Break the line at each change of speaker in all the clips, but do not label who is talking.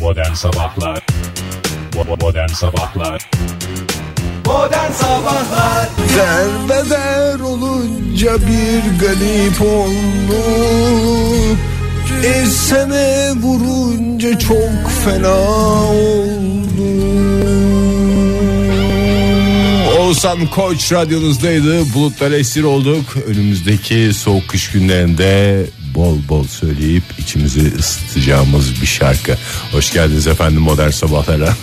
Modern Sabahlar Bo- Modern Sabahlar
Modern Sabahlar
Derbeder olunca bir galip olduk Esene vurunca çok fena oldu Oğuzhan Koç radyonuzdaydı Bulutlara esir olduk Önümüzdeki soğuk kış günlerinde Bol bol söyleyip içimizi ısıtacağımız bir şarkı Hoş geldiniz efendim modern sabahlara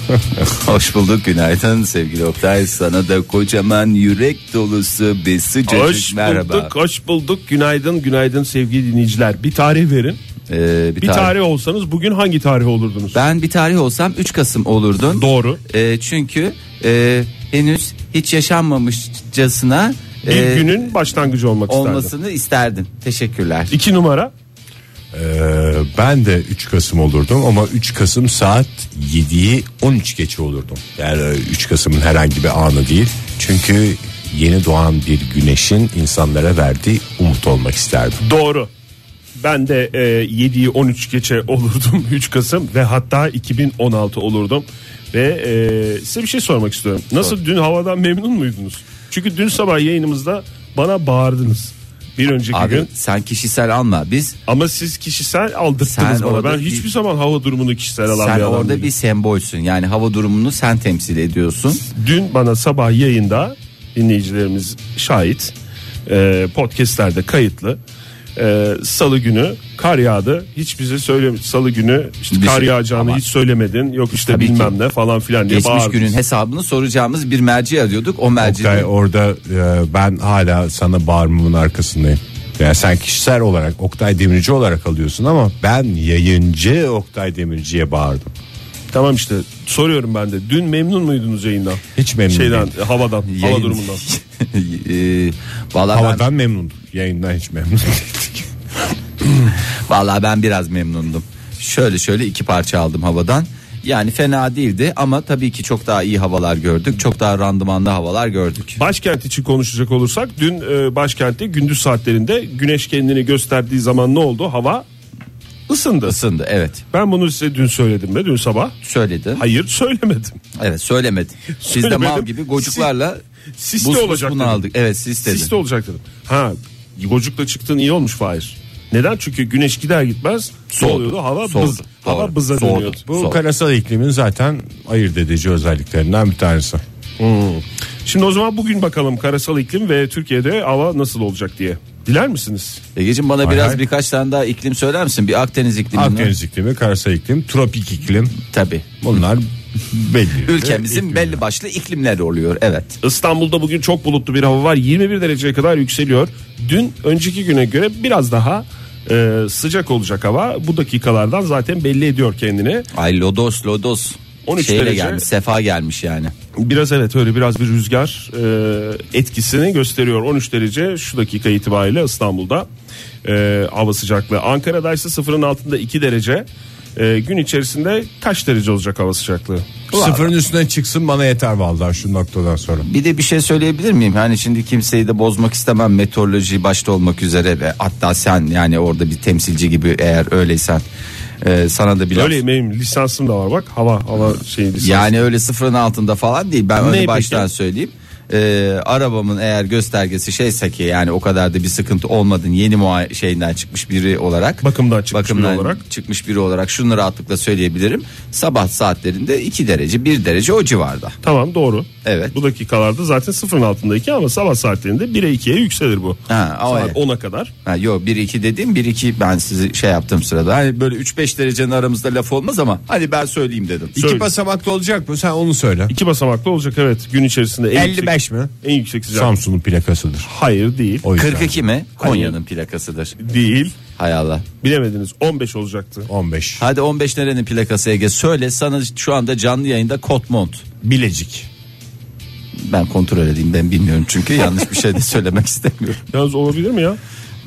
Hoş bulduk günaydın sevgili Oktay sana da kocaman yürek dolusu bir sıcacık
Hoş
merhaba.
bulduk, hoş bulduk. Günaydın, günaydın sevgili dinleyiciler. Bir tarih verin.
Ee, bir
Bir
tarih-
tarih olsanız bugün hangi tarih olurdunuz?
Ben bir tarih olsam 3 Kasım olurdun.
Doğru.
Ee, çünkü e, henüz hiç yaşanmamışcasına
Bir
e,
günün başlangıcı olmak isterdim.
olmasını isterdim. Teşekkürler.
İki numara.
Ee, ben de 3 Kasım olurdum ama 3 Kasım saat 7'yi 13 geçe olurdum. Yani 3 Kasım'ın herhangi bir anı değil. Çünkü yeni doğan bir güneşin insanlara verdiği umut olmak isterdim.
Doğru. Ben de e, 7'yi 13 geçe olurdum 3 Kasım ve hatta 2016 olurdum. Ve e, size bir şey sormak istiyorum. Nasıl dün havadan memnun muydunuz? Çünkü dün sabah yayınımızda bana bağırdınız. Bir önceki
Abi
gün.
sen kişisel alma biz
Ama siz kişisel aldırttınız
Sen
bana.
orada
Ben
bir-
hiçbir zaman hava durumunu kişisel alan
sen
bir adam
orada
değilim.
bir sembolsün yani hava durumunu sen temsil ediyorsun.
Dün bana sabah yayında dinleyicilerimiz şahit e, podcastlerde kayıtlı e, salı günü kar yağdı hiç bize söylemiş salı günü işte
Bir
kar
şey-
yağacağını
Ama-
hiç söylemedin yok işte
Tabii ki.
bilmem ne falan filan diye
Geçmiş
bağırdınız.
günün hesabını soracağımız bir merci arıyorduk o merci
Oktay orada e, ben hala sana bağırmamın arkasındayım. Yani sen kişisel olarak Oktay Demirci olarak alıyorsun ama ben yayıncı Oktay Demirci'ye bağırdım.
Tamam işte soruyorum ben de dün memnun muydunuz yayından?
Hiç memnun
Şeyden
değilim.
e, havadan hava
Yayın-
durumundan.
Ee, vallahi ben,
Havadan memnundum. Yayından hiç memnun değildik.
vallahi ben biraz memnundum. Şöyle şöyle iki parça aldım havadan. Yani fena değildi ama tabii ki çok daha iyi havalar gördük. Çok daha randımanlı havalar gördük.
Başkent için konuşacak olursak dün e, başkentte gündüz saatlerinde güneş kendini gösterdiği zaman ne oldu? Hava ısındı.
Isındı evet.
Ben bunu size dün söyledim de dün sabah.
Söyledin.
Hayır söylemedim.
Evet söylemedin. Siz de
Söylemedim.
mal gibi gocuklarla
Siste
buz buz
olacak
bunu
dedim.
aldık. Evet siz dedin.
Siste olacak dedim. Ha gocukla çıktığın iyi olmuş Fahir. Neden? Çünkü güneş gider gitmez
Soğudu.
soğuyordu. Hava
Soğudu.
bız, hava
Doğru.
bıza
Soğudu.
dönüyordu.
Bu
Sol.
karasal iklimin zaten ayırt edici özelliklerinden bir tanesi.
Şimdi o zaman bugün bakalım karasal iklim ve Türkiye'de hava nasıl olacak diye. Diler misiniz?
Egeciğim E, bana biraz
hay.
birkaç tane daha iklim söyler misin? Bir Akdeniz iklimi.
Akdeniz iklimi, karasal iklim, tropik iklim
Tabii.
bunlar belli.
Ülkemizin belli başlı iklimler oluyor evet.
İstanbul'da bugün çok bulutlu bir hava var. 21 dereceye kadar yükseliyor. Dün önceki güne göre biraz daha e, sıcak olacak hava. Bu dakikalardan zaten belli ediyor kendini.
Ay lodos lodos.
13
Şeyle
derece.
gelmiş sefa gelmiş yani.
Biraz evet öyle biraz bir rüzgar e, etkisini gösteriyor. 13 derece şu dakika itibariyle İstanbul'da e, hava sıcaklığı. Ankara'da ise sıfırın altında 2 derece. E, gün içerisinde kaç derece olacak hava sıcaklığı?
E, Sıfırın üstüne çıksın bana yeter vallahi şu noktadan sonra.
Bir de bir şey söyleyebilir miyim? Hani şimdi kimseyi de bozmak istemem meteoroloji başta olmak üzere ve hatta sen yani orada bir temsilci gibi eğer öyleysen e, sana da bir laf-
Öyle benim lisansım da var bak hava hava şey lisansı.
yani öyle sıfırın altında falan değil ben
Ne
öyle baştan
peki?
söyleyeyim. E, arabamın eğer göstergesi şeyse ki yani o kadar da bir sıkıntı olmadın yeni mua şeyinden çıkmış biri olarak
Bakımdan çıkmış biri
bakımdan
olarak.
çıkmış biri olarak şunu rahatlıkla söyleyebilirim sabah saatlerinde 2 derece 1 derece o civarda
Tamam doğru.
Evet.
Bu dakikalarda zaten sıfırın altındaki ama sabah saatlerinde 1'e 2'ye yükselir bu.
Ha, o
Saat
evet.
10'a kadar.
Ha, yo 1-2 dediğim 1-2 ben sizi şey yaptığım sırada hani böyle 3-5 derecenin aramızda laf olmaz ama hani ben söyleyeyim dedim.
İki basamaklı olacak mı? Sen onu söyle.
İki basamaklı olacak evet gün içerisinde. En
55
yüksek,
mi?
En yüksek sıcaklık.
Samsun'un plakasıdır.
Hayır değil.
O yüzden
42 mi? Konya'nın plakasıdır.
Değil.
Hay Allah.
Bilemediniz 15 olacaktı.
15.
Hadi 15 nerenin plakası Ege söyle sana şu anda canlı yayında Kotmont.
Bilecik.
Ben kontrol edeyim ben bilmiyorum çünkü yanlış bir şey de söylemek istemiyorum.
Yalnız olabilir mi ya?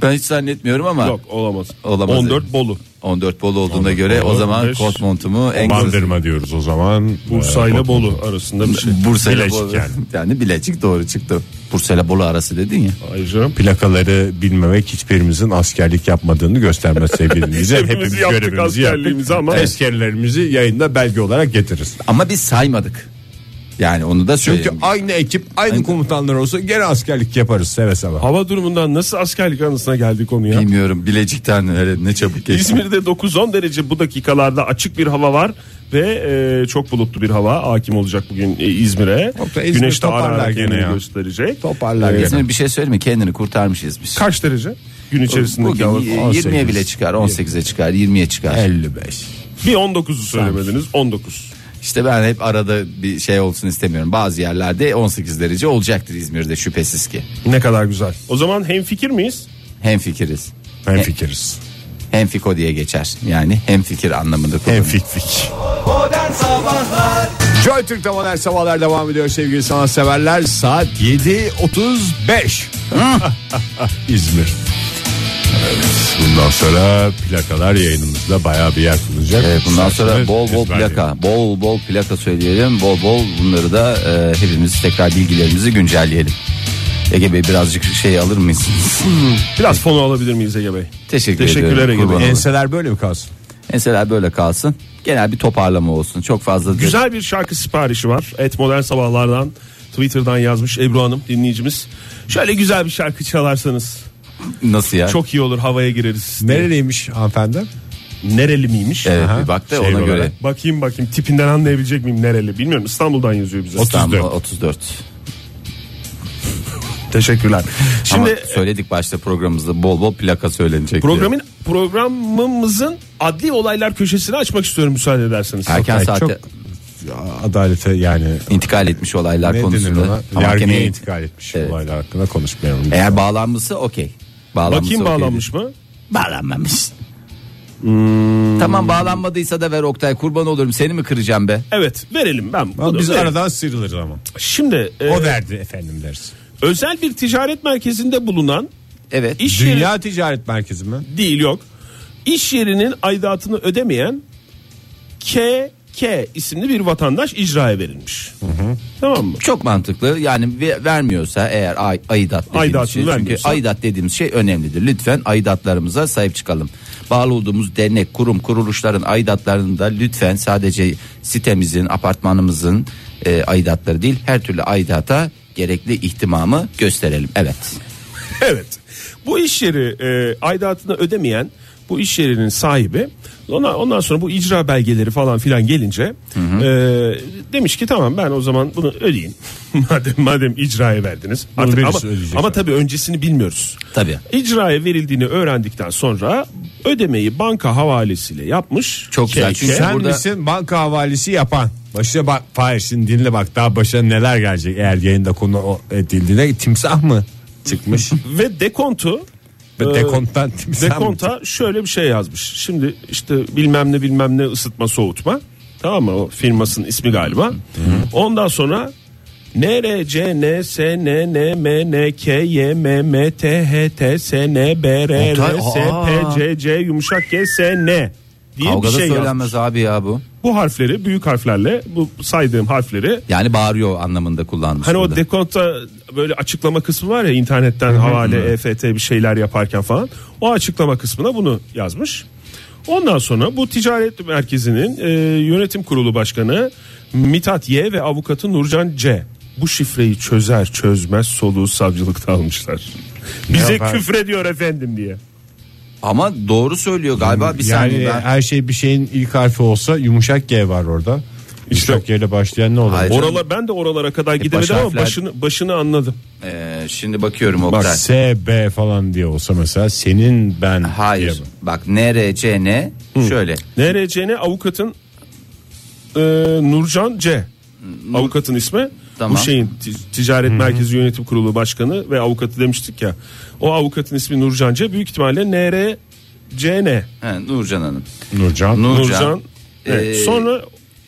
Ben hiç zannetmiyorum ama
Yok olamaz.
Olamaz
14 Bolu.
14 Bolu olduğuna
14
göre o
Bolu,
zaman
beş.
kot montumu en kısa-
Bandırma diyoruz o zaman.
Bursa
Ee,
ile
Bot-
Bolu arasında bir şey.
Bursa ile
Bilecik
Bolu. Yani.
yani.
Bilecik doğru çıktı. Bursa ile Bolu arası dedin ya.
Ayrıca
Plakaları bilmemek hiçbirimizin askerlik yapmadığını göstermez sevgili dinleyiciler.
Hepimiz
Hepimiz
yaptık
görevimizi yaptık.
askerliğimizi ama-
Tezkerelerimizi yayında belge olarak getiririz.
Ama biz saymadık. Yani onu da
Çünkü
söyleyeyim.
aynı ekip aynı
Aynı-
komutanlar olsa gene askerlik yaparız seve seve.
hava durumundan nasıl askerlik anısına geldi konu ya?
Bilmiyorum Bilecik'ten öyle ne çabuk geçti.
İzmir'de 9-10 derece bu dakikalarda açık bir hava var ve e, çok bulutlu bir hava hakim olacak bugün e, İzmir'e.
Yok da İzmir
Güneş de ara
toparlar
ara
gene
kendini
ya.
gösterecek.
Toparlar
İzmir
gene.
bir şey söyleme kendini kurtarmış İzmir.
Kaç derece? Gün içerisindeki
Bugün
hava.
20'ye bile çıkar 18'e çıkar 20'ye çıkar.
55.
Bir 19'u söylemediniz. 19.
İşte ben hep arada bir şey olsun istemiyorum. Bazı yerlerde 18 derece olacaktır İzmir'de şüphesiz ki.
Ne kadar güzel. E- O zaman hem fikir miyiz?
Hem fikiriz.
Hem fikiriz.
Hem fiko diye geçer. Yani hem fikir anlamında
Hem
E-
kullanılır.
fik fik.
Modern Sabahlar
Joy Türk'te modern sabahlar devam ediyor sevgili sanatseverler. Saat 7.35. İzmir. Evet, bundan sonra plakalar yayınımızda bayağı bir yer bulacak.
Evet, Ee, bundan sonra
İsterseniz
bol bol
ezberleyin.
plaka, bol bol plaka söyleyelim. Bol bol bunları da e, hepimiz tekrar bilgilerimizi güncelleyelim. Ege Bey birazcık şey alır mıyız?
Biraz fonu alabilir miyiz Ege Bey?
Teşekkür
Teşekkürler
ediyorum.
Ege Bey.
Kurban olayım.
Enseler böyle mi kalsın?
Mesela böyle kalsın. Genel bir toparlama olsun. Çok fazla
Güzel bir şarkı siparişi var. Et Modern Sabahlar'dan Twitter'dan yazmış Ebru Hanım dinleyicimiz. Şöyle güzel bir şarkı çalarsanız
nasıl ya?
çok iyi olur havaya gireriz.
Nereliymiş hanımefendi?
Nereli miymiş?
Evet,
Aha.
bir bak da
Şey
ona
olarak.
göre.
Bakayım bakayım tipinden anlayabilecek miyim nereli? Bilmiyorum İstanbul'dan yazıyor bize.
İstanbul
34.
34.
Teşekkürler.
Ama
Şimdi
söyledik başta programımızda bol bol plaka söylenecek. diye.
programın programımızın adli olaylar köşesini açmak istiyorum müsaade ederseniz.
erken
Ay,
saatte
çok- Adalete yani
intikal etmiş olaylar
ne denir
konusunda.
ona?
Mahkemeye-
Yargıya intikal etmiş
Evet.
olaylar hakkında konuşmayalım.
Eğer bağlanmışsa okey. Bağlanmışsa
Bakayım
okey
bağlanmış mı?
Bağlanmamış.
Hmm.
Tamam bağlanmadıysa da ver Oktay kurban olurum seni mi kıracağım be?
Evet verelim ben.
Ama
bunu
biz
verelim.
aradan sıyrılırız ama.
Şimdi e,
O verdi efendim deriz.
özel bir ticaret merkezinde bulunan
Evet.
iş yeri-
Dünya Ticaret Merkezi mi?
değil yok. İş yerinin aidatını ödemeyen KK isimli bir vatandaş icraya verilmiş. Tamam mı?
Çok mantıklı yani ve- vermiyorsa eğer ay, aidat dediğimiz
Aidatını
şey, çünkü
vermiyorsa-
aidat dediğimiz şey önemlidir. Lütfen aidatlarımıza sahip çıkalım. Bağlı olduğumuz dernek, kurum, kuruluşların aidatlarını da lütfen sadece sitemizin, apartmanımızın e, aidatları değil her türlü aidata gerekli ihtimamı gösterelim. Evet.
Evet. Bu iş yeri e, aidatını ödemeyen bu iş yerinin sahibi ona ondan sonra bu icra belgeleri falan filan gelince e, demiş ki tamam ben o zaman bunu ödeyeyim. madem madem icraya verdiniz.
Bunu
Artık
birisi
ama
ödeyecek
ama
yani.
tabii öncesini bilmiyoruz.
Tabii.
İcraya verildiğini öğrendikten sonra ödemeyi banka havalesiyle yapmış.
Çok güzel.
KK.
Çünkü
Sen
burada-
misin banka havalesi yapan? Başına bak Fahir şimdi dinle bak daha başına neler gelecek eğer yayında konu o- edildiğine timsah mı çıkmış?
ve dekontu
Ve
e,
dekonttan timsah mı?
Dekonta şöyle bir şey yazmış. Şimdi işte bilmem ne bilmem ne ısıtma soğutma. Tamam mı? O firmasının ismi galiba. Ondan sonra N R C N S N N M N K Y M M T H T S N B R
Oktay,
R S
aa.
P C C yumuşak G S N diye
Kavgada
bir şey yazmış.
söylenmez abi ya bu.
Bu harfleri büyük harflerle bu saydığım harfleri
Yani bağırıyor anlamında kullanmış.
Hani
burada.
o dekonta böyle açıklama kısmı var ya internetten havale, EFT bir şeyler yaparken falan. O açıklama kısmına bunu yazmış. Ondan sonra bu ticaret merkezinin e, yönetim kurulu başkanı Mithat Y ve avukatı Nurcan C. Bu şifreyi çözer çözmez soluğu savcılıkta almışlar. Bize
yapar?
küfür ediyor efendim diye.
Ama doğru söylüyor galiba bir
Yani
saniye ben.
her şey bir şeyin ilk harfi olsa yumuşak G var orada.
İşte-
yumuşak G ile başlayan ne olur?
Hayır.
Or-
Oralar ben de oralara kadar gidemedim ama
harfler-
başını başını anladım.
Ee, şimdi bakıyorum
Bak
Oktay.
S, B falan diye olsa mesela senin ben
Hayır.
diye.
Bak NRCN şöyle.
NRC'ne avukatın e, Nurcan C. Avukatın ismi
Tamam.
bu şeyin ti- ticaret merkezi yönetim kurulu başkanı ve avukatı demiştik ya. O avukatın ismi Nurcan C. Büyük ihtimalle NRCN.
He, Nurcan Hanım.
Nurcan.
Nurcan.
Nurcan. Evet.
Ee,
Sonra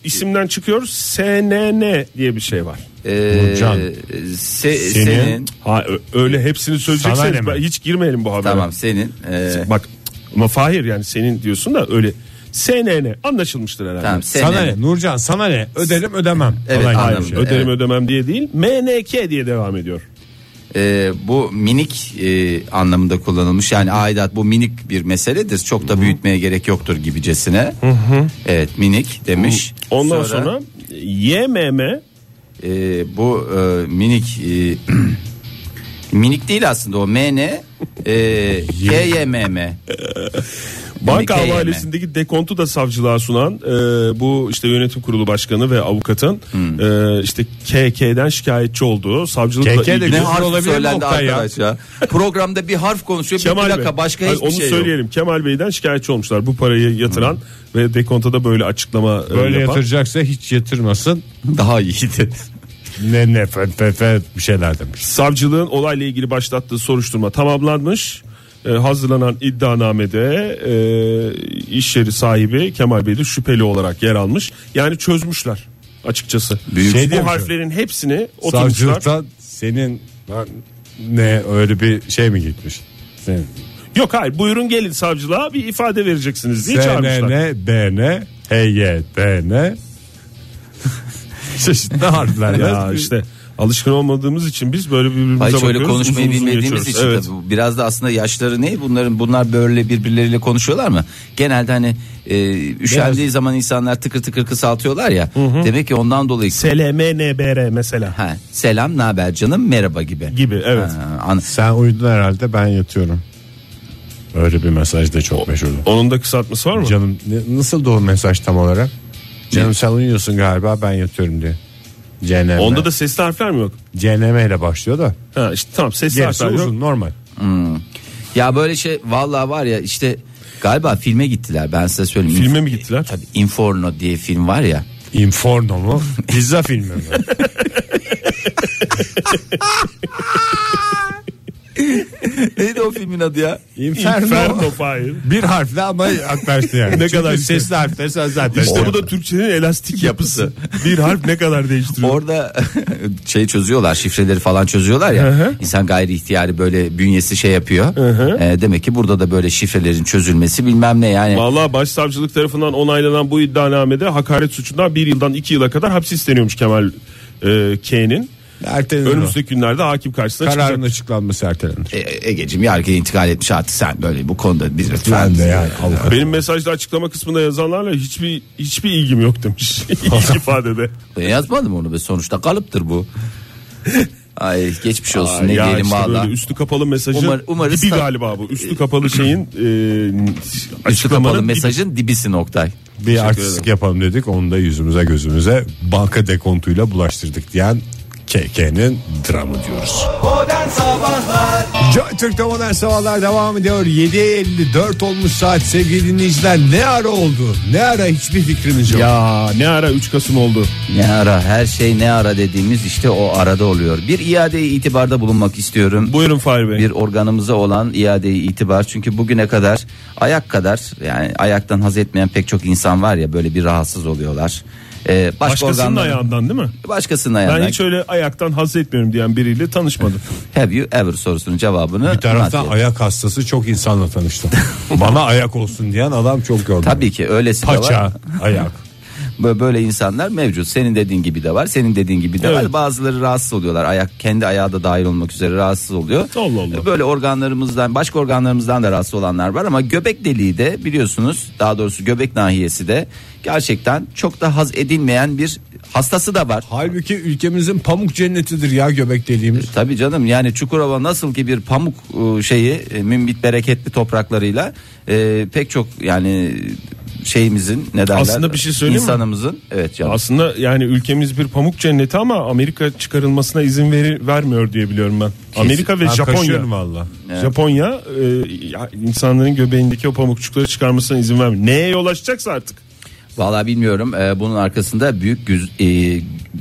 isimden çıkıyor SNN diye bir şey var.
Ee,
Nurcan.
se- senin.
Senin.
Ha ö- öyle hepsini
Sana ne
söyleyecekseniz
mi?
ben- hiç girmeyelim bu habere.
Tamam senin. Ee,
Bak Ama Fahir yani senin diyorsun da öyle SNN anlaşılmıştır herhalde.
Tamam, sen
Sana ne Nurcan sana ne öderim ödemem.
Evet,
Falan gibi
anladım.
bir şey.
Evet.
Öderim ödemem diye değil MNK diye devam ediyor.
e, bu minik e, anlamında kullanılmış yani aidat bu minik bir meseledir çok da büyütmeye gerek yoktur gibicesine evet minik demiş
Ondan sonra, YMM
e, bu e, minik e, minik değil aslında o MN e, KYMM
banka
KYM.
havalesindeki dekontu da savcılığa sunan e, bu işte yönetim kurulu başkanı ve avukatın
Hmm.
e, işte KK'den şikayetçi olduğu savcılıkla
KK de
ilgili
ne
Güzel
harf
olabilir mi
söylendi
Oktay ya?
arkadaş ya programda bir harf konuşuyor bir
Kemal Bey.
plaka başka
Hayır,
hiçbir
onu
şey yok
söyleyelim. Kemal Bey'den şikayetçi olmuşlar. Bu parayı yatıran
Hmm.
ve dekonta da böyle açıklama e,
Böyle
yapan.
yatıracaksa hiç yatırmasın.
daha iyiydi
Ne ne fe, fe, fe bir şeyler demiş.
Savcılığın olayla ilgili başlattığı soruşturma tamamlanmış. E, hazırlanan iddianamede e, iş yeri sahibi Kemal Bey de şüpheli olarak yer almış. Yani çözmüşler açıkçası.
Büyük- Şey
bu
diyormuş.
harflerin hepsini oturmuşlar.
Savcılıktan senin lan ne öyle bir şey mi gitmiş? Senin.
Yok hayır buyurun gelin savcılığa bir ifade vereceksiniz diye çağırmışlar.
SNN, BN, HYDN. Çeşitli harfler
Ya işte alışkın olmadığımız için biz böyle birbirimize
Hayır şöyle
bakıyoruz,
konuşmayı
uzun uzun
bilmediğimiz
geçiyoruz.
için
Evet.
tabii bu biraz da aslında yaşları ne bunların bunlar böyle birbirleriyle konuşuyorlar mı? Genelde hani e, üşendiği zaman insanlar tıkır tıkır kısaltıyorlar ya. Demek ki ondan dolayı
SLMNBR mesela
ha, selam, ne haber canım, merhaba gibi.
gibi evet.
Ha, an-
Sen uyudun herhalde ben yatıyorum. Öyle bir mesaj da çok meşhurdu.
Onun da kısaltması var mı?
Canım ne- nasıl da o mesaj tam olarak? Canım sen uyuyorsun galiba ben yatıyorum diye. CNM.
Onda da sesli harfler mi yok?
CNM ile başlıyor da.
Ha işte tamam sesli
Gerisi
harfler yok.
uzun normal.
ya böyle şey vallahi var ya işte galiba filme gittiler ben size söyleyeyim.
Filme mi gittiler?
Tabii Inferno diye film var ya.
Inferno mu? Pizza filmi mi?
Neydi o filmin adı ya?
Inferno.
Inferno Fire.
Bir harfle ama yaklaştı yani.
Ne
Çünkü
kadar güzel.
sesli harfler sen zaten.
İşte bu da Türkçenin elastik yapısı. bir harf ne kadar değiştiriyor?
Orada şey çözüyorlar şifreleri falan çözüyorlar ya insan gayri ihtiyari böyle bünyesi şey yapıyor E, demek ki burada da böyle şifrelerin çözülmesi bilmem ne yani
Vallahi başsavcılık tarafından onaylanan bu iddianamede hakaret suçundan bir yıldan iki yıla kadar hapis isteniyormuş Kemal e, K'nin.
Ertelenir o.
Önümüzdeki günlerde hakim karşısına
Kararın
çıkacak.
açıklanması ertelenir.
e, Ege'cim yargıya intikal etmiş artık sen böyle bu konuda bir lütfen
Ben de yani avukat.
Benim mesajda açıklama kısmında yazanlarla hiçbir hiçbir ilgim yok demiş. İlk ifadede.
Ben E, yazmadım onu be sonuçta kalıptır bu ay geçmiş olsun ne
ya
diyelim
işte
valla
böyle üstü kapalı mesajın
Umar- umarız
dibi
ta-
galiba bu. Üstü kapalı şeyin e,
üstü
açıklamanın
kapalı
dibi.
mesajın dibisi Oktay
Bir artistlik yapalım dedik. Onu da yüzümüze gözümüze banka dekontuyla bulaştırdık diyen KK'nin dramı diyoruz.
Modern Sabahlar
Joy Türk'te modern sabahlar devam ediyor. 7.54 olmuş saat sevgili dinleyiciler. Ne ara oldu? Ne ara hiçbir fikrimiz yok.
Ya ne ara 3 Kasım oldu.
ne ara her şey ne ara dediğimiz işte o arada oluyor bir iadeye itibarda bulunmak istiyorum
Buyurun Fahir Bey.
bir organımıza olan iadeyi itibar çünkü bugüne kadar ayak kadar yani ayaktan haz etmeyen pek çok insan var ya böyle bir rahatsız oluyorlar. Ee, başka
Başkasının
organların-
ayağından değil mi?
Başkasının
Ben
ayağından.
hiç öyle ayaktan haz etmiyorum diyen biriyle tanışmadım.
Have you ever sorusunun cevabını
Bir taraftan
Murat-
ayak hastası çok insanla tanıştım. Bana ayak olsun diyen adam çok gördüm.
Tabii ki öylesi de var.
Paça, ayak.
Bö- Böyle insanlar mevcut. Senin dediğin gibi de var. Senin dediğin gibi de var.
Evet.
Bazıları rahatsız oluyorlar. Ayak kendi ayağı da dahil olmak üzere rahatsız oluyor. E,
Allah Allah.
Böyle organlarımızdan, başka organlarımızdan da rahatsız olanlar var ama göbek deliği de biliyorsunuz, daha doğrusu göbek nahiyesi de gerçekten çok da haz edilmeyen bir hastası da var.
Halbuki ülkemizin pamuk cennetidir ya göbek deliğimiz.
Tabii canım yani Çukurova nasıl ki bir pamuk e, şeyi e, mümbit bereketli topraklarıyla e, pek çok yani şeyimizin ne derler?
Aslında bir şey söyleyeyim mi?
insanımızın evet canım.
Aslında yani ülkemiz bir pamuk cenneti ama Amerika çıkarılmasına izin veri, vermiyor diye biliyorum ben. Amerika ve
Ben
Japonya.
kaşıyorum valla.
Japonya e, ya insanların göbeğindeki o pamukçukları çıkarmasına izin vermiyor. Neye yol açacaksa artık.
Vallahi bilmiyorum. Ee, bunun arkasında büyük güz- e,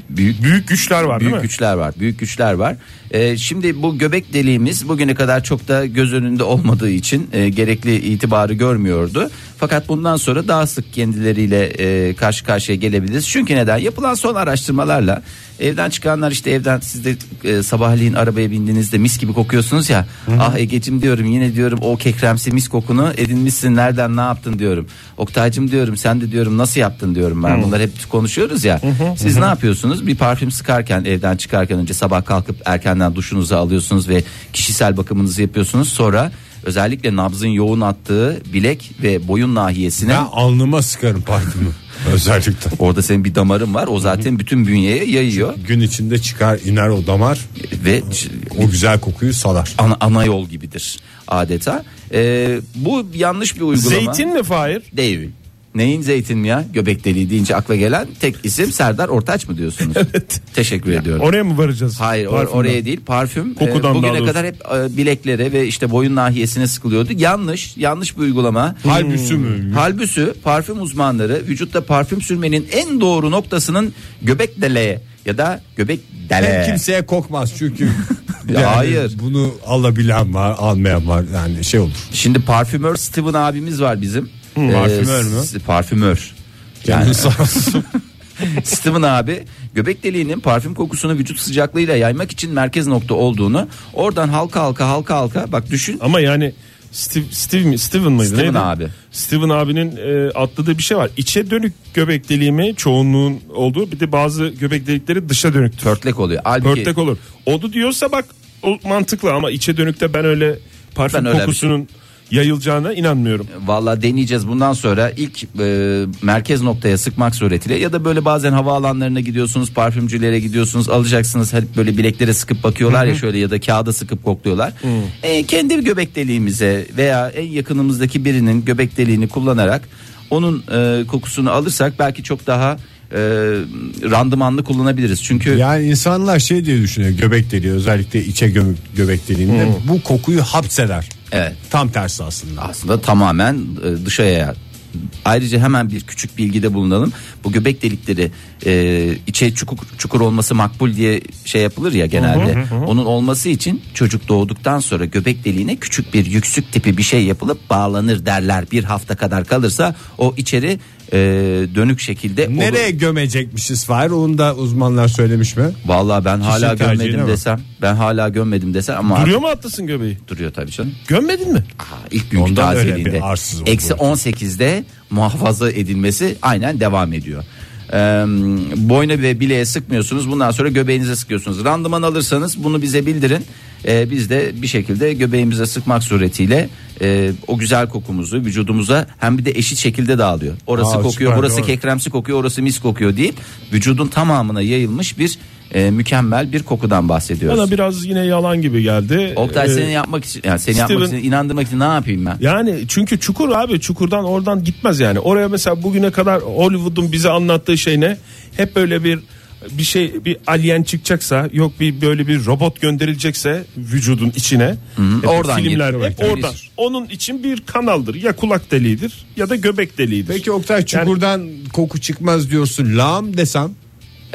büyük
Büyük güçler var
büyük
değil mi?
güçler var. Büyük güçler var. Ee, şimdi bu göbek deliğimiz bugüne kadar çok da göz önünde olmadığı için e, gerekli itibarı görmüyordu. Fakat bundan sonra daha sık kendileriyle e, karşı karşıya gelebiliriz. Çünkü neden? Yapılan son araştırmalarla Evden çıkanlar işte evden siz de e, sabahleyin arabaya bindiğinizde mis gibi kokuyorsunuz ya. Ah Ege'cim diyorum yine diyorum o kekremsi mis kokunu edinmişsin nereden ne yaptın diyorum. Oktay'cım diyorum sen de diyorum nasıl yaptın diyorum ben. Bunlar hep konuşuyoruz ya. Siz ne yapıyorsunuz? Bir parfüm sıkarken evden çıkarken önce sabah kalkıp erkenden duşunuzu alıyorsunuz ve kişisel bakımınızı yapıyorsunuz. Sonra özellikle nabzın yoğun attığı bilek ve boyun nahiyesine
Ben alnıma sıkarım parfümü özellikle.
Orada senin bir damarın var. O zaten bütün bünyeye yayıyor
Gün içinde çıkar iner o damar
ve ç-
o güzel kokuyu salar.
ana, ana yol gibidir adeta. Ee, bu yanlış bir uygulama.
Zeytin mi Fahir?
değil. Neyin zeytin mi ya? Göbek deliği deyince akla gelen tek isim Serdar Ortaç mı diyorsunuz? evet. Teşekkür ediyorum.
Oraya mı varacağız?
Hayır or-
Parfümden.
oraya değil parfüm e,
Kokudan daha
bugüne
doğrusu.
kadar hep e, bileklere ve işte boyun nahiyesine sıkılıyordu. Yanlış yanlış bir uygulama. Hmm.
Halbüsü mü?
Halbüsü parfüm uzmanları vücutta parfüm sürmenin en doğru noktasının göbek deliği ya da göbek
Ben
deliği.
kimseye kokmaz çünkü.
Ee. Ya hayır.
Bunu alabilen var, almayan var. Yani şey olur.
Şimdi parfümör Steven abimiz var bizim. Ee,
parfümör mü?
s- Parfümör.
Yani sarsın.
Steven abi göbek deliğinin parfüm kokusunu vücut sıcaklığıyla yaymak için merkez nokta olduğunu oradan halka halka halka halka bak düşün
Ama yani Steve, Steve mi? Steven mıydı?
Steven
Neydi?
abi.
Steven abinin e, atladığı bir şey var. İçe dönük göbek deliği mi çoğunluğun olduğu bir de bazı göbek delikleri dışa dönüktür.
pörtlek oluyor. Halbuki
Pörtlek olur. Onu diyorsa bak o mantıklı ama içe dönükte ben öyle parfüm
Ben öyle bir şey-
kokusunun yayılacağına inanmıyorum.
Valla deneyeceğiz bundan sonra ilk e, merkez noktaya sıkmak suretiyle ya da böyle bazen havaalanlarına gidiyorsunuz parfümcülere gidiyorsunuz alacaksınız hep böyle bileklere sıkıp bakıyorlar ya şöyle ya da kağıda sıkıp kokluyorlar. E, kendi göbek deliğimize veya en yakınımızdaki birinin göbek deliğini kullanarak onun e, kokusunu alırsak belki çok daha e, randımanlı kullanabiliriz. Çünkü
Yani insanlar şey diye düşünüyor göbek deliği özellikle içe göm- göbek deliğinde bu kokuyu hapseder.
Hmm. Evet.
Tam tersi aslında.
aslında tamamen e, dışarıya Ayrıca hemen bir küçük bilgide bulunalım. Bu göbek delikleri e, içe çukur, çukur olması makbul diye şey yapılır ya genelde. Onun olması için çocuk doğduktan sonra göbek deliğine küçük bir yüksük tipi bir şey yapılıp bağlanır derler. Bir hafta kadar kalırsa o içeri e, dönük şekilde olur.
Nereye gömecekmişiz Fahir onu da uzmanlar söylemiş mi?
Vallahi ben hala
tercihine
gömmedim
bak.
desem. Ben hala gömmedim desem ama
Duruyor mu atlasın göbeği?
duruyor tabii canım.
Gömmedin mi?
Aa, ilk günkü
Ondan öyle
tazeliğinde.
bir arsız oldu.
Eksi 18'de muhafaza edilmesi aynen devam ediyor. Ee, boyna ve bileğe sıkmıyorsunuz. Bundan sonra göbeğinize sıkıyorsunuz. Randıman alırsanız bunu bize bildirin. Ee, biz de bir şekilde göbeğimize sıkmak suretiyle e, o güzel kokumuzu vücudumuza hem bir de eşit şekilde dağılıyor. Orası
Aa,
kokuyor,
süper,
burası
doğru.
kekremsi kokuyor, orası mis kokuyor deyip vücudun tamamına yayılmış bir e, mükemmel bir kokudan bahsediyoruz.
Bana biraz yine yalan gibi geldi.
Oktay
Ee,
seni yapmak için yani seni yapmak
Steven-
için inandırmak için ne yapayım ben?
Yani çünkü çukur abi çukurdan oradan gitmez yani. Oraya mesela bugüne kadar Hollywood'un bize anlattığı şey ne? Hep böyle bir bir şey bir alien çıkacaksa yok bir böyle bir robot gönderilecekse vücudun içine hep
oradan
filmler
gir-
hep
oradan
oradan
gir.
onun için bir kanaldır ya kulak deliğidir ya da göbek deliğidir
Peki Oktay çukurdan koku çıkmaz diyorsun. Lağım desem.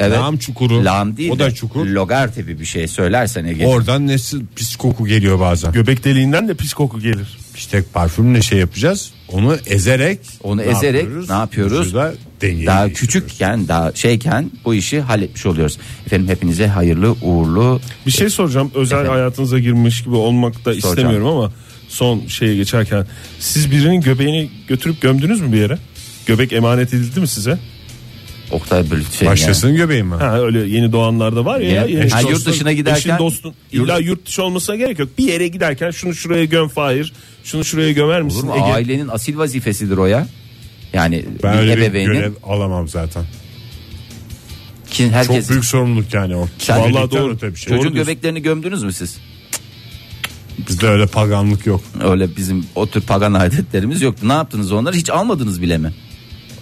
Evet.
Lağım çukuru.
Lağım değil
O
de
da çukur.
Logar tipi bir şey söylersen Ege.
Oradan nasıl pis koku geliyor bazen.
göbek deliğinden de pis koku gelir
İşte parfümle şey yapacağız. Onu ezerek
Onu ezerek ne yapıyoruz?
Vücuda dengeyi
daha
değiştiriyoruz.
küçükken daha şeyken bu işi halletmiş oluyoruz. Efendim hepinize hayırlı uğurlu
Bir şey soracağım. Özel
Efendim?
hayatınıza girmiş gibi olmak da istemiyorum ama son şeye geçerken siz birinin göbeğini götürüp gömdünüz mü bir yere? Göbek emanet edildi mi size?
Oktay Bülüt şey
Başlasın göbeğim mi?
Ha öyle yeni doğanlarda var ya.
Ya,
yeni
ha,
dostun,
yurt dışına
eşin,
giderken-
dostun. İlla yurt dışı olmasına gerek yok. Bir yere giderken şunu şuraya göm Fahir. Şunu şuraya gömer
yani. Olur
misin?
mu?
Ege?
Ailenin asil vazifesidir o ya. Yani
Ben
bir
öyle bir
ebeveynin
görev alamam zaten.
ki
Çok
herkes
büyük sorumluluk yani o.
Sen-
Vallahi
Vallahi doğru.
doğru. Öte bir şey.
çocuk
Doğru diyorsun.
göbeklerini gömdünüz mü siz?
Bizde öyle paganlık yok.
Öyle bizim o tür pagan adetlerimiz yoktu. Ne yaptınız onları? Hiç almadınız bile mi?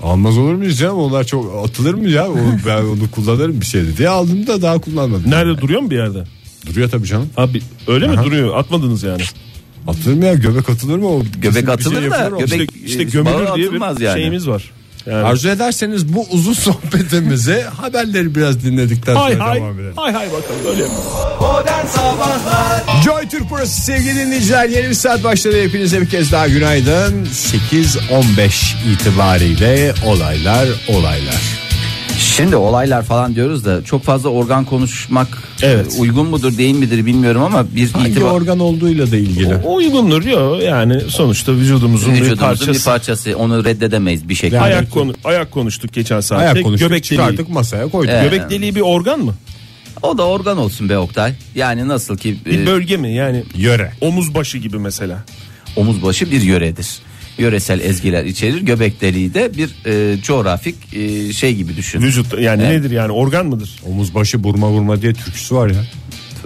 Almaz olur muyuz canım? Onlar çok atılır mı ya? O, ben onu kullanırım bir şeydi diye aldım da daha kullanmadım.
Nerede duruyor mu bir yerde?
Duruyor tabii canım.
Abi öyle mi duruyor? Atmadınız yani.
Atılır mı ya? Göbek atılır mı? O bizim bir şey
atılır da,
yapılır mı?
göbek- e,
İşte, işte gömülür
bağı
diye
atılmaz
bir
yani.
şeyimiz var. Yani.
Arzu ederseniz bu uzun sohbetimize haberleri biraz dinledikten sonra
Hay hay.
devam edelim.
Hay hay bakalım öyle mi?
Modern Sabahlar
Joy Türk burası sevgili dinleyiciler. Yeni bir saat başladı. Hepinize bir kez daha günaydın. 8.15 itibariyle olaylar olaylar.
Şimdi olaylar falan diyoruz da çok fazla organ konuşmak
Evet.
e, uygun mudur değil midir bilmiyorum ama bir
Hangi
itibar
organ olduğuyla da ilgili.
O uygundur ya yani sonuçta vücudumuzun, bir
vücudumuzun bir
parçası.
parçası onu reddedemeyiz bir şekilde.
ayak konu ayak konuştuk geçen saatte.
Ayak konuştuk
göbek deliği.
çıkardık masaya koyduk.
Evet.
Göbek deliği bir organ mı?
O da organ olsun be Oktay. Yani nasıl ki e,
Bir bölge mi? Yani
Yöre.
omuz başı gibi mesela.
omuz başı bir yöredir. Yöresel ezgiler içerir. Göbek deliği de bir e, coğrafik e, şey gibi düşün.
Vücut yani
Evet.
nedir yani organ mıdır?
Omuz başı burma vurma diye türküsü var ya.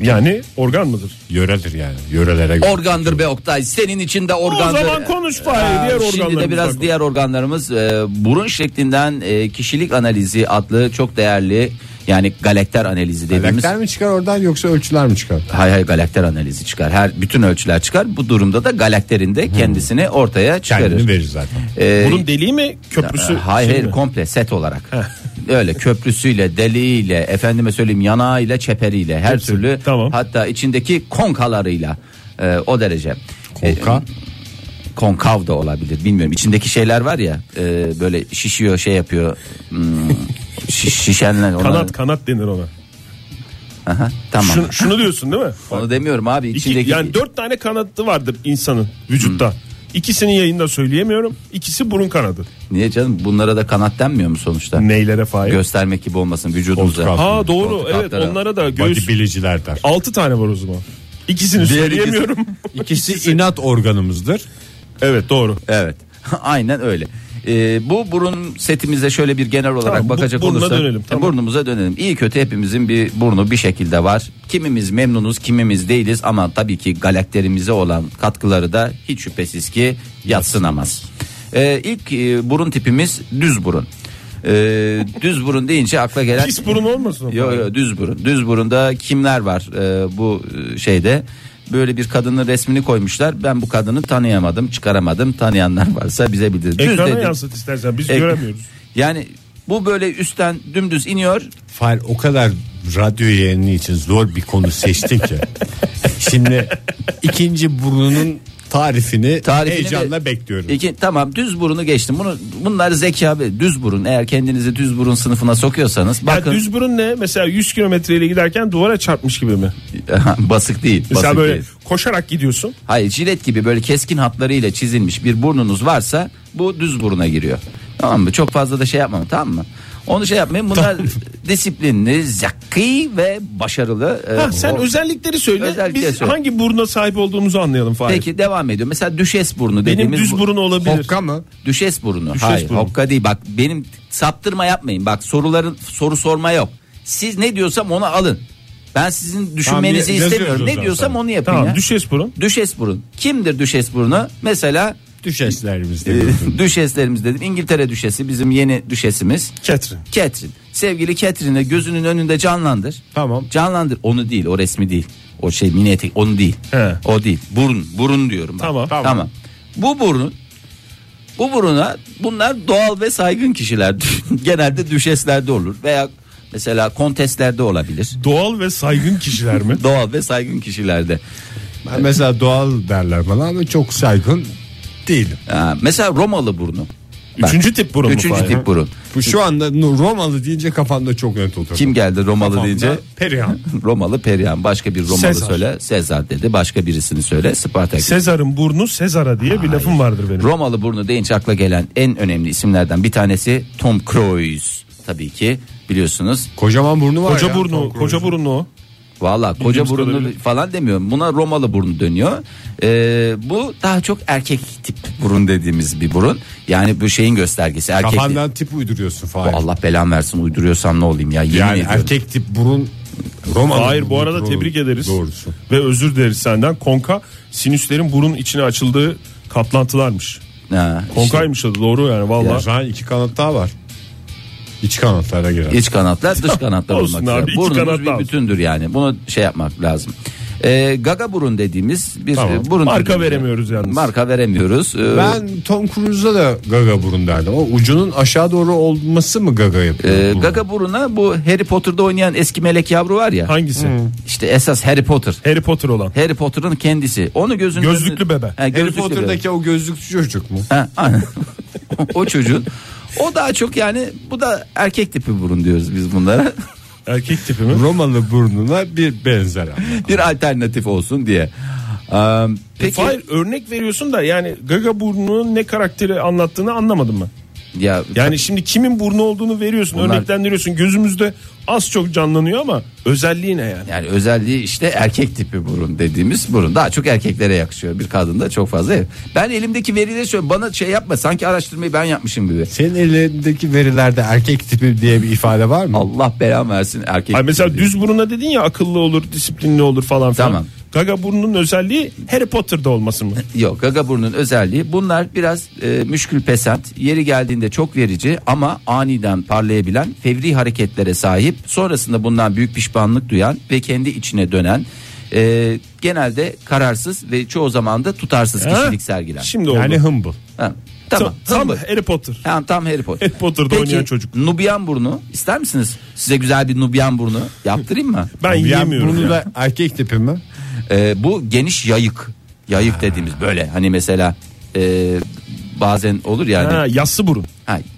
Yani organ mıdır?
Yöredir yani. Yörelere göre.
Organdır be Oktay. Senin için de organdır.
O zaman konuş Fahir,
Aa,
diğer
Ee, Şimdi de
organlarımız
biraz
bak.
diğer organlarımız e, burun şeklinden e, kişilik analizi adlı çok değerli yani galakter analizi dediğimiz.
Galakter mi çıkar oradan yoksa ölçüler mi çıkar?
Hay hay galakter analizi çıkar. Her bütün ölçüler çıkar. Bu durumda da galakterin de kendisini ortaya çıkarır.
Kendini verir zaten.
E,
Hmm. Bunun deliği mi? Köprüsü?
Ee, Hayır
şey
hayır
mi?
komple set olarak. Öyle köprüsüyle, deliğiyle, efendime söyleyeyim yanağıyla, çeperiyle, her türlü
tamam.
hatta içindeki konkalarıyla e, o derece.
Konka?
E, konkav da olabilir bilmiyorum. İçindeki şeyler var ya e, böyle şişiyor, şey yapıyor. Hmm, şiş- şişenler onlar.
Kanat kanat denir ona.
Aha, tamam.
Şunu, şunu diyorsun değil mi?
Onu demiyorum abi
İki-
içindeki
yani dört tane kanatı vardır insanın vücutta. İkisini yayında söyleyemiyorum. İkisi burun kanadı.
Niye canım? Bunlara da kanat denmiyor mu sonuçta?
Neylere Fahir?
Göstermek gibi olmasın vücudumuza.
Koltuk altı.
Ha doğru
Koltuk
evet
altları.
onlara da göğüs.
Bodybiliciler der.
Altı tane var o zaman. İkisini
Diğer
söyleyemiyorum.
İkisi inat organımızdır.
evet doğru.
Evet. Aynen öyle. Ee, bu burun setimize şöyle bir genel olarak
Tamam, bu-
bakacak
burnuna
olursak e,
dönelim, tamam.
burnumuza dönelim. İyi kötü hepimizin bir burnu bir şekilde var. Kimimiz memnunuz, kimimiz değiliz ama tabii ki galakterimize olan katkıları da hiç şüphesiz ki yatsınamaz. Ee, ilk burun tipimiz düz burun. Ee, düz burun deyince akla gelen
Pis burun olmasın. o
Yo
Fahir?
yo düz burun. Düz burunda kimler var e, bu e, şeyde? Böyle bir kadının resmini koymuşlar. Ben bu kadını tanıyamadım, çıkaramadım. Tanıyanlar varsa bize bildir. Düz
Ekrana
dedi.
yansıt istersen biz
Ek-
göremiyoruz.
Yani bu böyle üstten dümdüz iniyor.
Fahir o kadar radyo yayını için zor bir konu seçtin ki. Şimdi ikinci burnunun tarifini,
Tarifini
heyecanla
de-
bekliyorum.
İki, tamam düz burunu geçtim. Bunu bunlar zeka ve düz burun. Eğer kendinizi düz burun sınıfına sokuyorsanız
Ya
bakın
düz burun ne? Mesela 100 kilometreyle giderken duvara çarpmış gibi mi?
basık değil.
Mesela
basık
böyle
değil.
koşarak gidiyorsun.
Hayır jilet gibi böyle keskin hatlarıyla çizilmiş bir burnunuz varsa bu düz buruna giriyor. Tamam mı? Çok fazla da şey yapmam tamam mı? Onu şey yapmayın. Bunlar disiplinli, zeki ve başarılı. e,
Ha, sen
o-
özellikleri söyle.
Özellikleri
biz
söyle.
hangi buruna sahip olduğumuzu anlayalım Fahir.
Peki devam ediyor. Mesela düşes burnu
Benim
dediğimiz
düz
bu-
burun olabilir.
Hokka mı?
Düşes burnu.
Düşes
Hayır,
burnu.
hokka değil. Bak benim saptırma yapmayın. Bak soruların soru sorma yok. Siz ne diyorsam onu alın. Ben sizin düşünmenizi
yazıyoruz
istemiyorum.
o
Ne
zaman
diyorsam
sana.
onu yapın
Tamam
ya.
düşes burun.
düşes burun. Kimdir düşes burnu? Mesela
Düşeslerimizde.
Ee, düşeslerimiz dedim. İngiltere düşesi bizim yeni düşesimiz.
Ketrin.
Catherine. Sevgili Catherine'i gözünün önünde canlandır.
Tamam.
Canlandır. Onu değil o resmi değil. O şey mini etek onu değil.
He.
O değil. Burun. Burun diyorum. ben.
Tamam. Tamam.
Tamam. Bu burun bu buruna bunlar doğal ve saygın kişiler. Genelde düşeslerde olur veya mesela konteslerde olabilir.
Doğal ve saygın kişiler mi?
Doğal ve saygın kişilerde.
Ben mesela doğal derler bana ama çok saygın değilim.
Ha, Ee, mesela Romalı burnu. Bak,
Üçüncü tip burun mu
Üçüncü
Fahir?
tip burun.
Bu şu anda Romalı deyince kafamda çok net oturdu.
Kim geldi Romalı deyince?
Perihan.
Romalı Perihan başka bir Romalı
Sezar.
söyle Sezar dedi başka birisini söyle Spartak.
Sezar'ın burnu Sezar'a diye bir lafım vardır benim.
Romalı burnu deyince akla gelen en önemli isimlerden bir tanesi Tom Cruise tabii ki biliyorsunuz.
Kocaman burnu var
koca
ya.
burnu, koca burnu o.
Valla koca
Bildiğimiz
burunlu
kadarıyla.
falan demiyorum buna Romalı burnu dönüyor. Ee, bu daha çok erkek tip burun dediğimiz bir burun yani bu şeyin göstergesi erkek.
Kafandan tip uyduruyorsun Fahir.
Allah belan versin uyduruyorsam ne olayım ya yemin
Yani
ediyorum.
erkek tip burun Romalı.
Hayır bu
burnu
arada
doğru-
tebrik ederiz.
Doğrusu.
Ve özür dileriz senden. Konka sinüslerin burun içine açıldığı katlantılarmış.
Ha, işte.
Konkaymış adı doğru yani
O
valla.
zaman iki kanat daha var. İç kanatlara girer.
İç kanatlar dış kanatlar
Olsun
olmak üzere.
abi, iki
Burnumuz
kanat
bir
lazım.
bütündür yani. Bunu şey yapmak lazım. Ee, gaga burun dediğimiz bir
Tamam.
e, burun
Marka
dediğimiz-
veremiyoruz yalnız.
Marka veremiyoruz. Ee,
Ben Tom Cruise'a da gaga burun derdim. O ucunun aşağı doğru olması mı gaga yapıyor?
e,
Burun.
gaga buruna bu Harry Potter'da oynayan eski melek yavru var ya.
Hangisi?
İşte esas Harry Potter.
Harry Potter olan.
Harry Potter'ın kendisi. Onu gözünün
Gözlüklü
önüne-
bebe.
He, gözlüklü
Harry Potter'daki o gözlüklü çocuk mu?
bebe. Ha, aynen. o çocuğun O daha çok yani bu da erkek tipi burun diyoruz biz bunlara.
Erkek tipi mi?
Romalı burnuna bir benzer ama.
bir alternatif olsun diye.
E,
Ee, peki
Hayır örnek veriyorsun da yani Gaga burnunun ne karakteri anlattığını anlamadım ben.
ya
Yani şimdi kimin burnu olduğunu veriyorsun,
Bunlar-
örneklendiriyorsun. Gözümüzde az çok canlanıyor ama özelliği ne yani?
yani özelliği işte erkek tipi burun dediğimiz burun daha çok erkeklere yakışıyor bir kadında çok fazla. yok. Ben elimdeki verileri söyle bana şey yapma sanki araştırmayı ben yapmışım gibi.
Senin elindeki verilerde erkek tipi diye bir ifade var mı?
Allah belamı versin erkek.
Ay mesela
tipi diye.
düz buruna dedin ya akıllı olur, disiplinli olur falan filan.
Tamam.
Gaga burnunun özelliği Harry Potter'da olması mı?
Yok gaga burnunun özelliği bunlar biraz e, müşkül pesant yeri geldiğinde çok verici ama aniden parlayabilen fevri hareketlere sahip sonrasında bundan büyük pişmanlık duyan ve kendi içine dönen e, genelde kararsız ve çoğu zaman da tutarsız
Ha?
kişilik sergiler.
Şimdi oldu.
Yani humble.
Ha,
tam,
tamam
tam
tamam.
Harry Potter.
Tamam tam Harry Potter.
Harry Potter'da oynayan çocuk.
Nubyan burnu ister misiniz? Size güzel bir Nubyan burnu yaptırayım mı?
Ben
Yani
yiyemiyorum.
bunu
ya.
da erkek tipi mi?
Ee, bu geniş yayık. Yayık dediğimiz böyle hani mesela e, bazen olur yani.
Ha,
Ha.
yassı burun.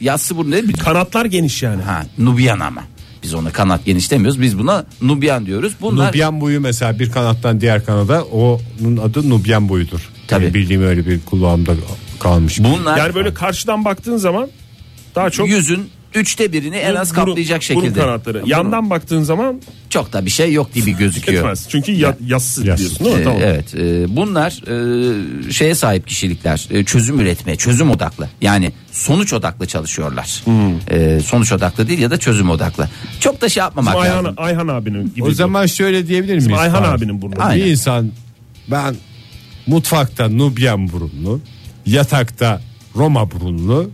yassı burnu ne bir
Kanatlar geniş yani.
ha Nubyan ama. Biz ona kanat geniş demiyoruz. Biz buna Nubyan diyoruz. Bunlar
Nubyan boyu mesela bir kanattan diğer kanada onun adı Nubyan boyudur.
Tabii.
Benim bildiğim öyle bir kulağımda kalmış.
bunlar
Yani böyle karşıdan baktığın zaman daha çok
yüzün üçte birini en az
burun-
kaplayacak
burun
şekilde.
kanatları.
Burun-
Yandan baktığın zaman
çok da bir şey yok gibi gözüküyor.
etmez. Çünkü ya, yassı
Yassı.
diyorsun değil mi?
Ee,
Tamam.
Evet, e, bunlar e, şeye sahip kişilikler, e, çözüm üretme, çözüm odaklı. Yani sonuç odaklı çalışıyorlar. E, sonuç odaklı değil ya da çözüm odaklı. Çok da şey yapmamak lazım.
Ayhan, Ayhan abinin gibi.
O zaman şöyle diyebilir miyiz?
Ayhan
Fahir?
abinin burnu.
Aynen.
Bir insan ben mutfakta Nubyan burunlu, yatakta Roma burunlu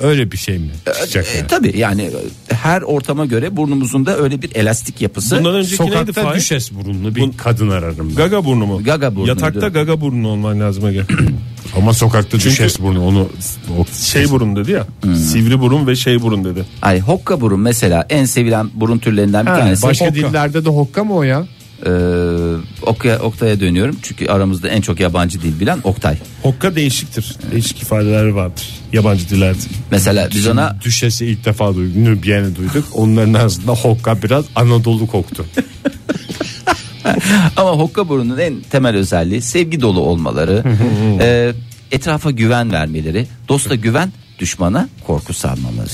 öyle bir şey mi
Ee,
çıkacak?
E,
yani?
tabii yani e, her ortama göre burnumuzun da öyle bir elastik yapısı.
Bundan önceki neydi
Sokakta
Fahir?
düşes burunlu bir kadın ararım ben.
Gaga burnu mu?
Gaga burnu,
Yatakta
değil mi?
gaga burnu olman lazım Ege.
Ama sokakta düşes burnu onu o-
şey burun dedi ya. Sivri burun ve şey burun dedi.
Ay hokka burun mesela en sevilen burun türlerinden bir tanesi.
Başka
Hokka.
dillerde de hokka mı o ya?
E, Oktay- Oktay'a dönüyorum çünkü aramızda en çok yabancı dil bilen Oktay.
Hokka değişiktir. Değişik ifadeler vardır. Yabancı dillerde.
Mesela biz ona
Düşesi ilk defa duyduk. Nübyen'i duyduk. Onların arasında hokka biraz Anadolu koktu.
Ama hokka burunun en temel özelliği sevgi dolu olmaları, e, etrafa güven vermeleri, dosta güven, düşmana korku sarmaları.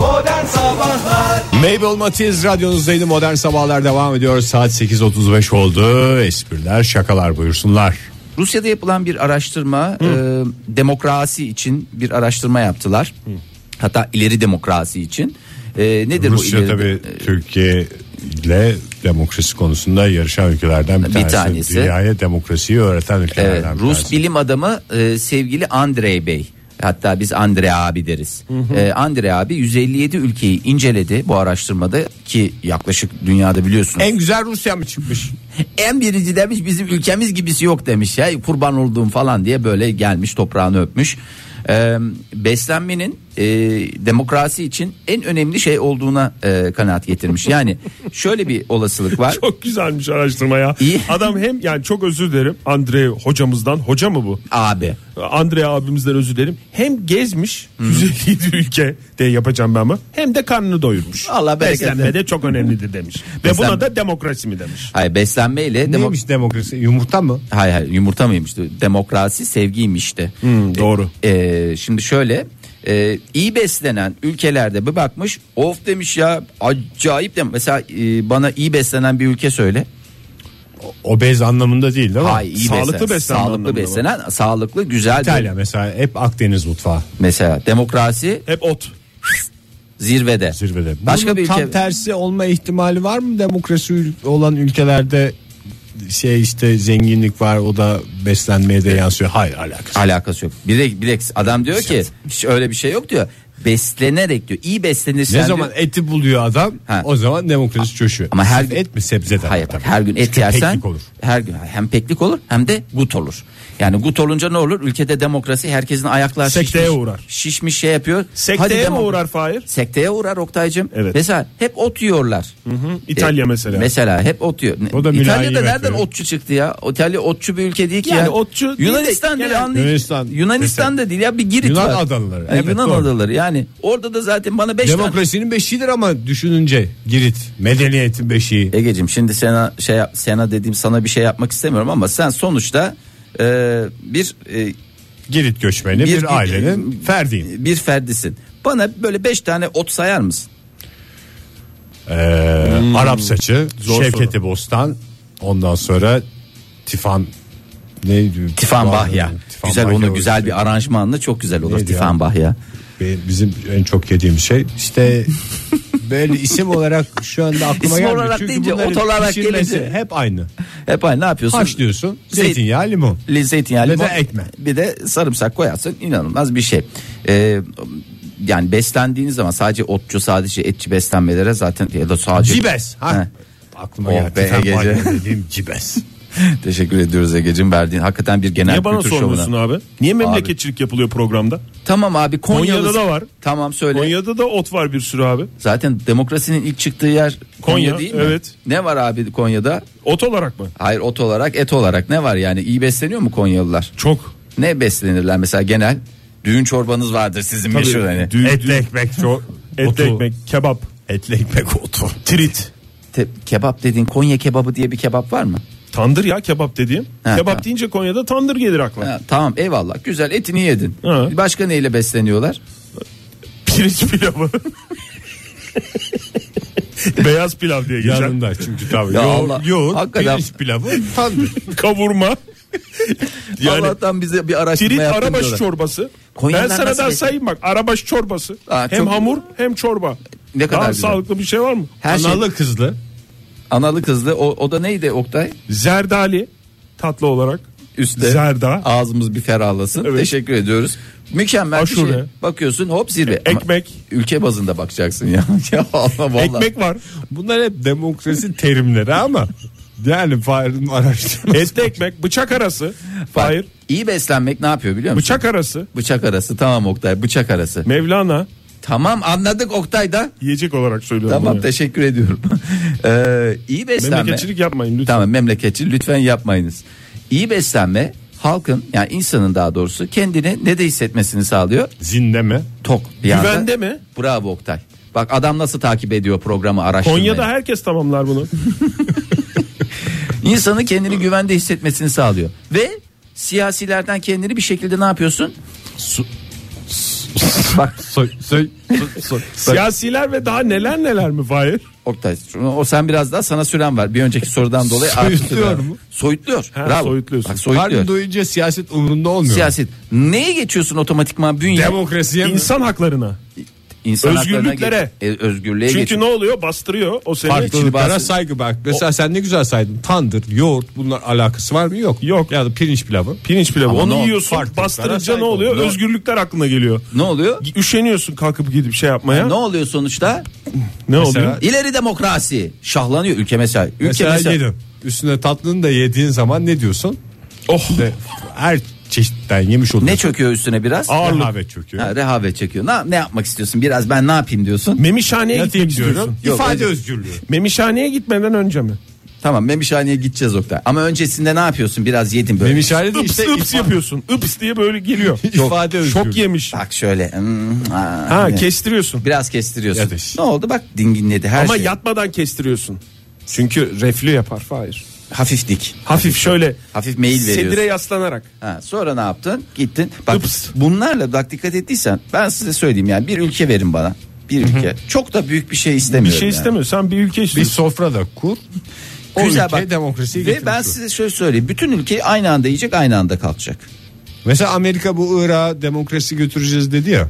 Modern Sabahlar
Mabel Matiz radyonuzdaydı. Modern Sabahlar devam ediyor. Saat 8.35 oldu. Espriler şakalar buyursunlar.
Rusya'da yapılan bir araştırma e, demokrasi için bir araştırma yaptılar. Hatta ileri demokrasi için. E, nedir bu e,
Rusya
ileri?
tabii Türkiye ile demokrasi konusunda yarışan ülkelerden bir,
Bir
tanesi.
tanesi.
Dünyaya demokrasiyi öğreten
Evet,
ülkelerden bir
Rus
tanesi.
bilim adamı e, sevgili Andrei Bey. Hatta biz Andrei abi deriz. E, Andrei abi 157 ülkeyi inceledi bu araştırmada ki yaklaşık dünyada biliyorsunuz.
En güzel Rusya mı çıkmış?
En birinci demiş bizim ülkemiz gibisi yok demiş ya kurban olduğum falan diye böyle gelmiş toprağını öpmüş. Ee, beslenmenin e, demokrasi için en önemli şey olduğuna e, kanaat getirmiş. Yani şöyle bir olasılık var.
Çok güzelmiş araştırma ya.
İyi.
Adam hem yani çok özür dilerim Andre hocamızdan. Hoca mı bu?
Abi
Andre abimizden özür dilerim. Hem gezmiş 157 ülke de yapacağım ben mi? Hem de karnını doyurmuş.
Allah bereket
Beslenme
versin.
de çok önemlidir demiş. Ve
Beslenme-
buna da demokrasi mi demiş.
hayır beslenmeyle demo-
Neymiş demokrasi? Yumurta mı?
Hayır hayır yumurta mıymış? Demokrasi sevgiymişti.
doğru.
Ee, şimdi şöyle e, iyi beslenen ülkelerde bir bakmış of demiş ya acayip demiş. Mesela e, bana iyi beslenen bir ülke söyle.
Obez anlamında değil değil mi?
Hayır, iyi
Sağlıklı
beslenen,
beslenen
sağlıklı
anlamında
beslenen, sağlıklı güzel bir-
İtalya mesela hep Akdeniz mutfağı
mesela demokrasi
Hep ot.
zirvede.
zirvede.
Başka
Bunun
bir
tam
ülke-
tersi olma ihtimali var mı demokrasi ül- olan ülkelerde şey işte zenginlik var o da beslenmeye de yansıyor. Hayır alakası.
Alakası yok. Bilek bilek adam diyor ki hiç öyle bir şey yok diyor. Beslenerek diyor. iyi beslenirsen
Ne
diyor-
zaman eti buluyor adam
Ha.
o zaman demokrasi coşuyor.
Ama her gün-
et mi sebzeden?
Hayır bak
Tabii.
her gün et
Çünkü
yersen
peklik olur.
her gün hem peklik olur hem de gut olur. Yani gut olunca ne olur? Ülkede demokrasi herkesin ayakları
Sekteye
şişmiş,
uğrar.
Şişmiş şey yapıyor. Hadi
Sekteye mi
demokra-
uğrar Fahir?
Sekteye uğrar Oktay'cım.
Evet.
Mesela hep ot yiyorlar.
İtalya
E,
mesela.
Mesela hep ot yiyor.
O da
İtalya'da
mülayimet
nereden
verir.
otçu çıktı ya? İtalya otçu bir ülke değil ki
Yani
ya.
otçu değil de
Yunanistan değil,
genel-
anlayın.
Yunanistan.
Yunanistan. da değil ya bir Girit
Yunan
var.
adaları.
Ha,
Evet,
Yunan
doğru.
adaları yani. Orada da zaten bana 5 tane
Demokrasinin beşiğidir ama düşününce Girit medeniyetin beşiği.
Egeciğim şimdi sena şey yap- sena dediğim sana bir şey yapmak istemiyorum ama sen sonuçta e, bir e,
Girit göçmeni bir,
Bir-
ailenin ferdiyim.
bir ferdisin. Bana böyle beş tane ot sayar mısın?
Ee,
Hmm.
Arap saçı,
Zor
Şevketi Bostan, ondan sonra Tifan neydi?
Tifan Bahya.
Tifan
güzel
Bahya
onu
o
güzel
işte.
bir aranjmanla çok güzel olur
Neydi
Tifan
ya?
Bahya.
Be- Bizim en çok yediğimiz şey işte böyle isim olarak şu anda aklıma
İsim
gelmiyor.
olarak
Çünkü
deyince,
bunların
ot olarak
pişirmesi
gelince.
Hep aynı.
Hep aynı ne yapıyorsun?
Haşlıyorsun.
Zeyt-
Zeytinyağı, limon.
Li- Zeytinyağı,
Ve
limon.
de ekmek.
Bir de sarımsak koyarsın inanılmaz bir şey. Ee, yani beslendiğiniz zaman sadece otçu sadece etçi beslenmelere zaten ya da sadece
Cibes. Ha.
He.
Aklıma
Oh
geldi.
be
Tifan
Egeci.
Bahya dediğim cibes.
Teşekkür ediyoruz Ege'cim verdiğin hakikaten bir genel
Niye bana
kültür şovuna.
sormuyorsun abi? Niye memleketçilik yapılıyor programda?
Tamam abi Konyalı.
Konya'da da var.
Tamam söyle.
Konya'da da ot var bir sürü abi.
Zaten demokrasinin ilk çıktığı yer Konya,
Konya,
değil mi?
evet.
Ne var abi Konya'da?
Ot olarak mı?
Hayır ot olarak et olarak ne var yani iyi besleniyor mu Konyalılar?
Çok.
Ne beslenirler mesela genel? Düğün çorbanız vardır sizin meşhur hani.
Düğün-
Etli ekmek çok.
Etli
otu.
ekmek, kebap,
Etli ekmek otu. Trit.
Te- kebap dediğin Konya kebabı diye bir kebap var mı?
tandır ya kebap dediğim.
Ha,
kebap
tamam.
deyince Konya'da tandır gelir akla.
Ha, tamam eyvallah güzel etini yedin.
Ha.
Başka neyle besleniyorlar?
Pirinç pilavı. Beyaz pilav diye geçer.
Yanında çünkü tabii.
Ya
Yo-
Allah,
yoğurt,
hakikaten.
pirinç pilavı, tandır.
Kavurma. yani
Allah'tan bize bir araştırma
Tirit
yaptın
arabaş
diyorlar.
çorbası.
Konya'dan
ben sana
nasıl
daha
geçti?
sayayım bak. Arabaş çorbası.
Aa,
hem
çok-
hamur hem çorba.
Ne kadar
daha
güzel.
sağlıklı bir şey var mı?
Her şey
Analı kızlı.
analı kızlı o, o da neydi Oktay?
Zerdali tatlı olarak.
üstte.
Zerda.
Ağzımız bir ferahlasın.
Evet.
Teşekkür ediyoruz. Mükemmel bir
Aşure.
şey. Bakıyorsun hop zirve. Ama
Ekmek.
ülke bazında bakacaksın ya. ya Allah vallahi.
Ekmek var.
Bunlar hep demokrasi terimleri ama yani Fahir'in araştırması.
Etli ekmek. Bıçak arası.
Bak,
Hayır.
İyi beslenmek ne yapıyor biliyor musun?
Bıçak arası.
Bıçak arası tamam Oktay bıçak arası.
Mevlana.
Tamam anladık Oktay da.
Yiyecek olarak söylüyorum.
Tamam
bunu.
teşekkür ediyorum. ee, iyi beslenme.
Memleketçilik yapmayın lütfen.
Tamam memleketçi lütfen yapmayınız. İyi beslenme halkın yani insanın daha doğrusu kendini ne de hissetmesini sağlıyor.
Zinde mi?
Tok. bir anda.
Güvende mi?
Bravo Oktay. Bak adam nasıl takip ediyor programı araştırmayı.
Konya'da herkes tamamlar bunu.
İnsanın kendini güvende hissetmesini sağlıyor. Ve siyasilerden kendini bir şekilde ne yapıyorsun? Bak
Soy, soy, soy, soy.
Siyasiler ve daha neler neler mi Fahir?
Oktay o sen biraz daha sana süren var. Bir önceki sorudan dolayı artık-
Soyutluyor mu?
Soyutluyor.
Ha,
Bravo.
soyutluyorsun.
Bak
Karnı
soyutluyor.
doyunca siyaset umurunda olmuyor.
Siyaset. Neye geçiyorsun otomatikman bünye?
Demokrasiye mi?
İnsan haklarına.
İnsan haklarına
Özgürlüklere.
geç- E, özgürlüğe
Çünkü
geçiyorsun.
ne oluyor? Bastırıyor o seni.
Farklılıklara
bazı-
saygı bak. Mesela sen ne güzel saydın. Tandır, yoğurt bunlar alakası var mı? Yok.
Yok.
Ya da pirinç pilavı.
Pirinç pilavı.
Ama ne
Onu
oldu?
yiyorsun.
Farklılıklara
Bastırınca
saygı
ne oluyor?
oldu.
Özgürlükler aklına geliyor.
ne üşeniyorsun
Üşeniyorsun kalkıp gidip şey yapmaya.
Ne oluyor sonuçta?
Ne
Mesela-
oluyor?
İleri demokrasi. Şahlanıyor ülke mesela. Ülke
Mesela,
mesela-
yedin. Üstüne tatlını da yediğin zaman ne diyorsun?
Oh.
De- Her çeşitten yemiş oluyorsun.
Ne çöküyor üstüne biraz?
Ağırlık.
Rehavet çöküyor.
Ha, rehavet çekiyor. Ne, ne yapmak istiyorsun? Biraz ben ne yapayım diyorsun.
Memişhaneye
Ne
gitmek
diyorum?
istiyorsun.
Yok,
İfade
öyle-
özgürlüğü.
Memişhaneye gitmeden önce mi?
Tamam memişhaneye gideceğiz Oktay. Ama öncesinde ne yapıyorsun? Biraz yedim böyle.
Memişhane de
Ips
işte
ips yapıyorsun. Ips diye böyle geliyor.
ifade özgürlüğü.
Çok yemiş.
Bak şöyle. hmm, aa,
Ha
hani
kestiriyorsun.
Biraz kestiriyorsun.
Ya da işte.
Ne oldu? Bak dinginledi her
Ama
şey.
yatmadan kestiriyorsun. Çünkü reflü yapar Fahir.
Hafif dik.
Hafif şöyle
Hafif meyil veriyorsun.
sedire yaslanarak.
Ha, sonra ne yaptın? Gittin. Bak
Ups.
bunlarla bak dikkat ettiysen ben size söyleyeyim yani bir ülke verin bana. Bir ülke. Çok da büyük bir şey
Bir
istemiyorum.
şey
yani.
istemiyor. Sen bir ülke
Bir
istiyorsun.
sofrada kur. O
Güzel
ülkeye
bak.
demokrasiyi
Ve
getirmiş
ben
ol.
size şöyle söyleyeyim. Bütün ülkeyi aynı anda yiyecek, aynı anda kalkacak.
Mesela Amerika bu Irak'a demokrasi götüreceğiz dedi ya.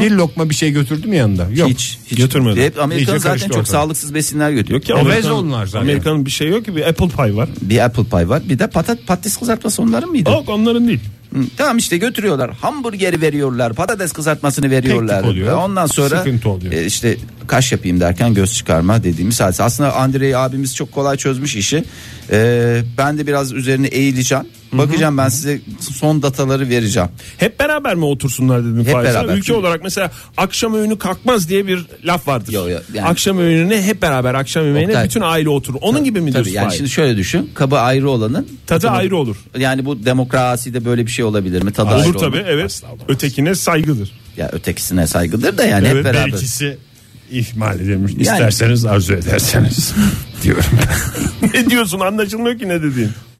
Bir lokma bir şey götürdü mü yanında? Yok.
hiç hiç
götürmedi.
Hep Amerikan
İyice
zaten
karıştı
çok
ortalık.
sağlıksız besinler götürüyor.
Yok ya,
Obez
Amerika'nın-
onlar zaten.
Amerika'nın bir şey yok ki bir apple pie var.
Bir apple pie var. Bir de patat patates kızartması onların mıydı?
Yok onların değil.
Hı, Tamam işte götürüyorlar. Hamburgeri veriyorlar. Patates kızartmasını veriyorlar.
oluyor.
Ve Ondan sonra
Sıkıntı oluyor.
e, işte kaş yapayım derken göz çıkarma dediğimiz E, hadise. Aslında Andrei abimiz çok kolay çözmüş işi. Ee, ben de biraz üzerine eğileceğim. Bakacağım ben size son dataları vereceğim.
Hep beraber mi otursunlar dedim
Hep
Faiz'e?
beraber.
Ülke
Çünkü-
olarak mesela akşam öğünü kalkmaz diye bir laf vardır.
Yo, yo, yani-
Akşam öğününe hep beraber akşam yemeğine
Oktay-
bütün aile oturur. Onun gibi mi
Tabii
diyorsun?
yani
Faiz?
şimdi şöyle düşün. Kabı ayrı olanın
Tadı
tadını-
ayrı olur.
Yani bu demokraside böyle bir şey olabilir mi? Tadı ayrı
Olur tabii
olmak.
evet. Ötekine saygıdır.
Ya ötekisine saygıdır da yani hep
Evet,
beraber.
belkisi ihmal edilmiş. İsterseniz arzu ederseniz diyorum.
ne diyorsun anlaşılmıyor ki ne dediğin.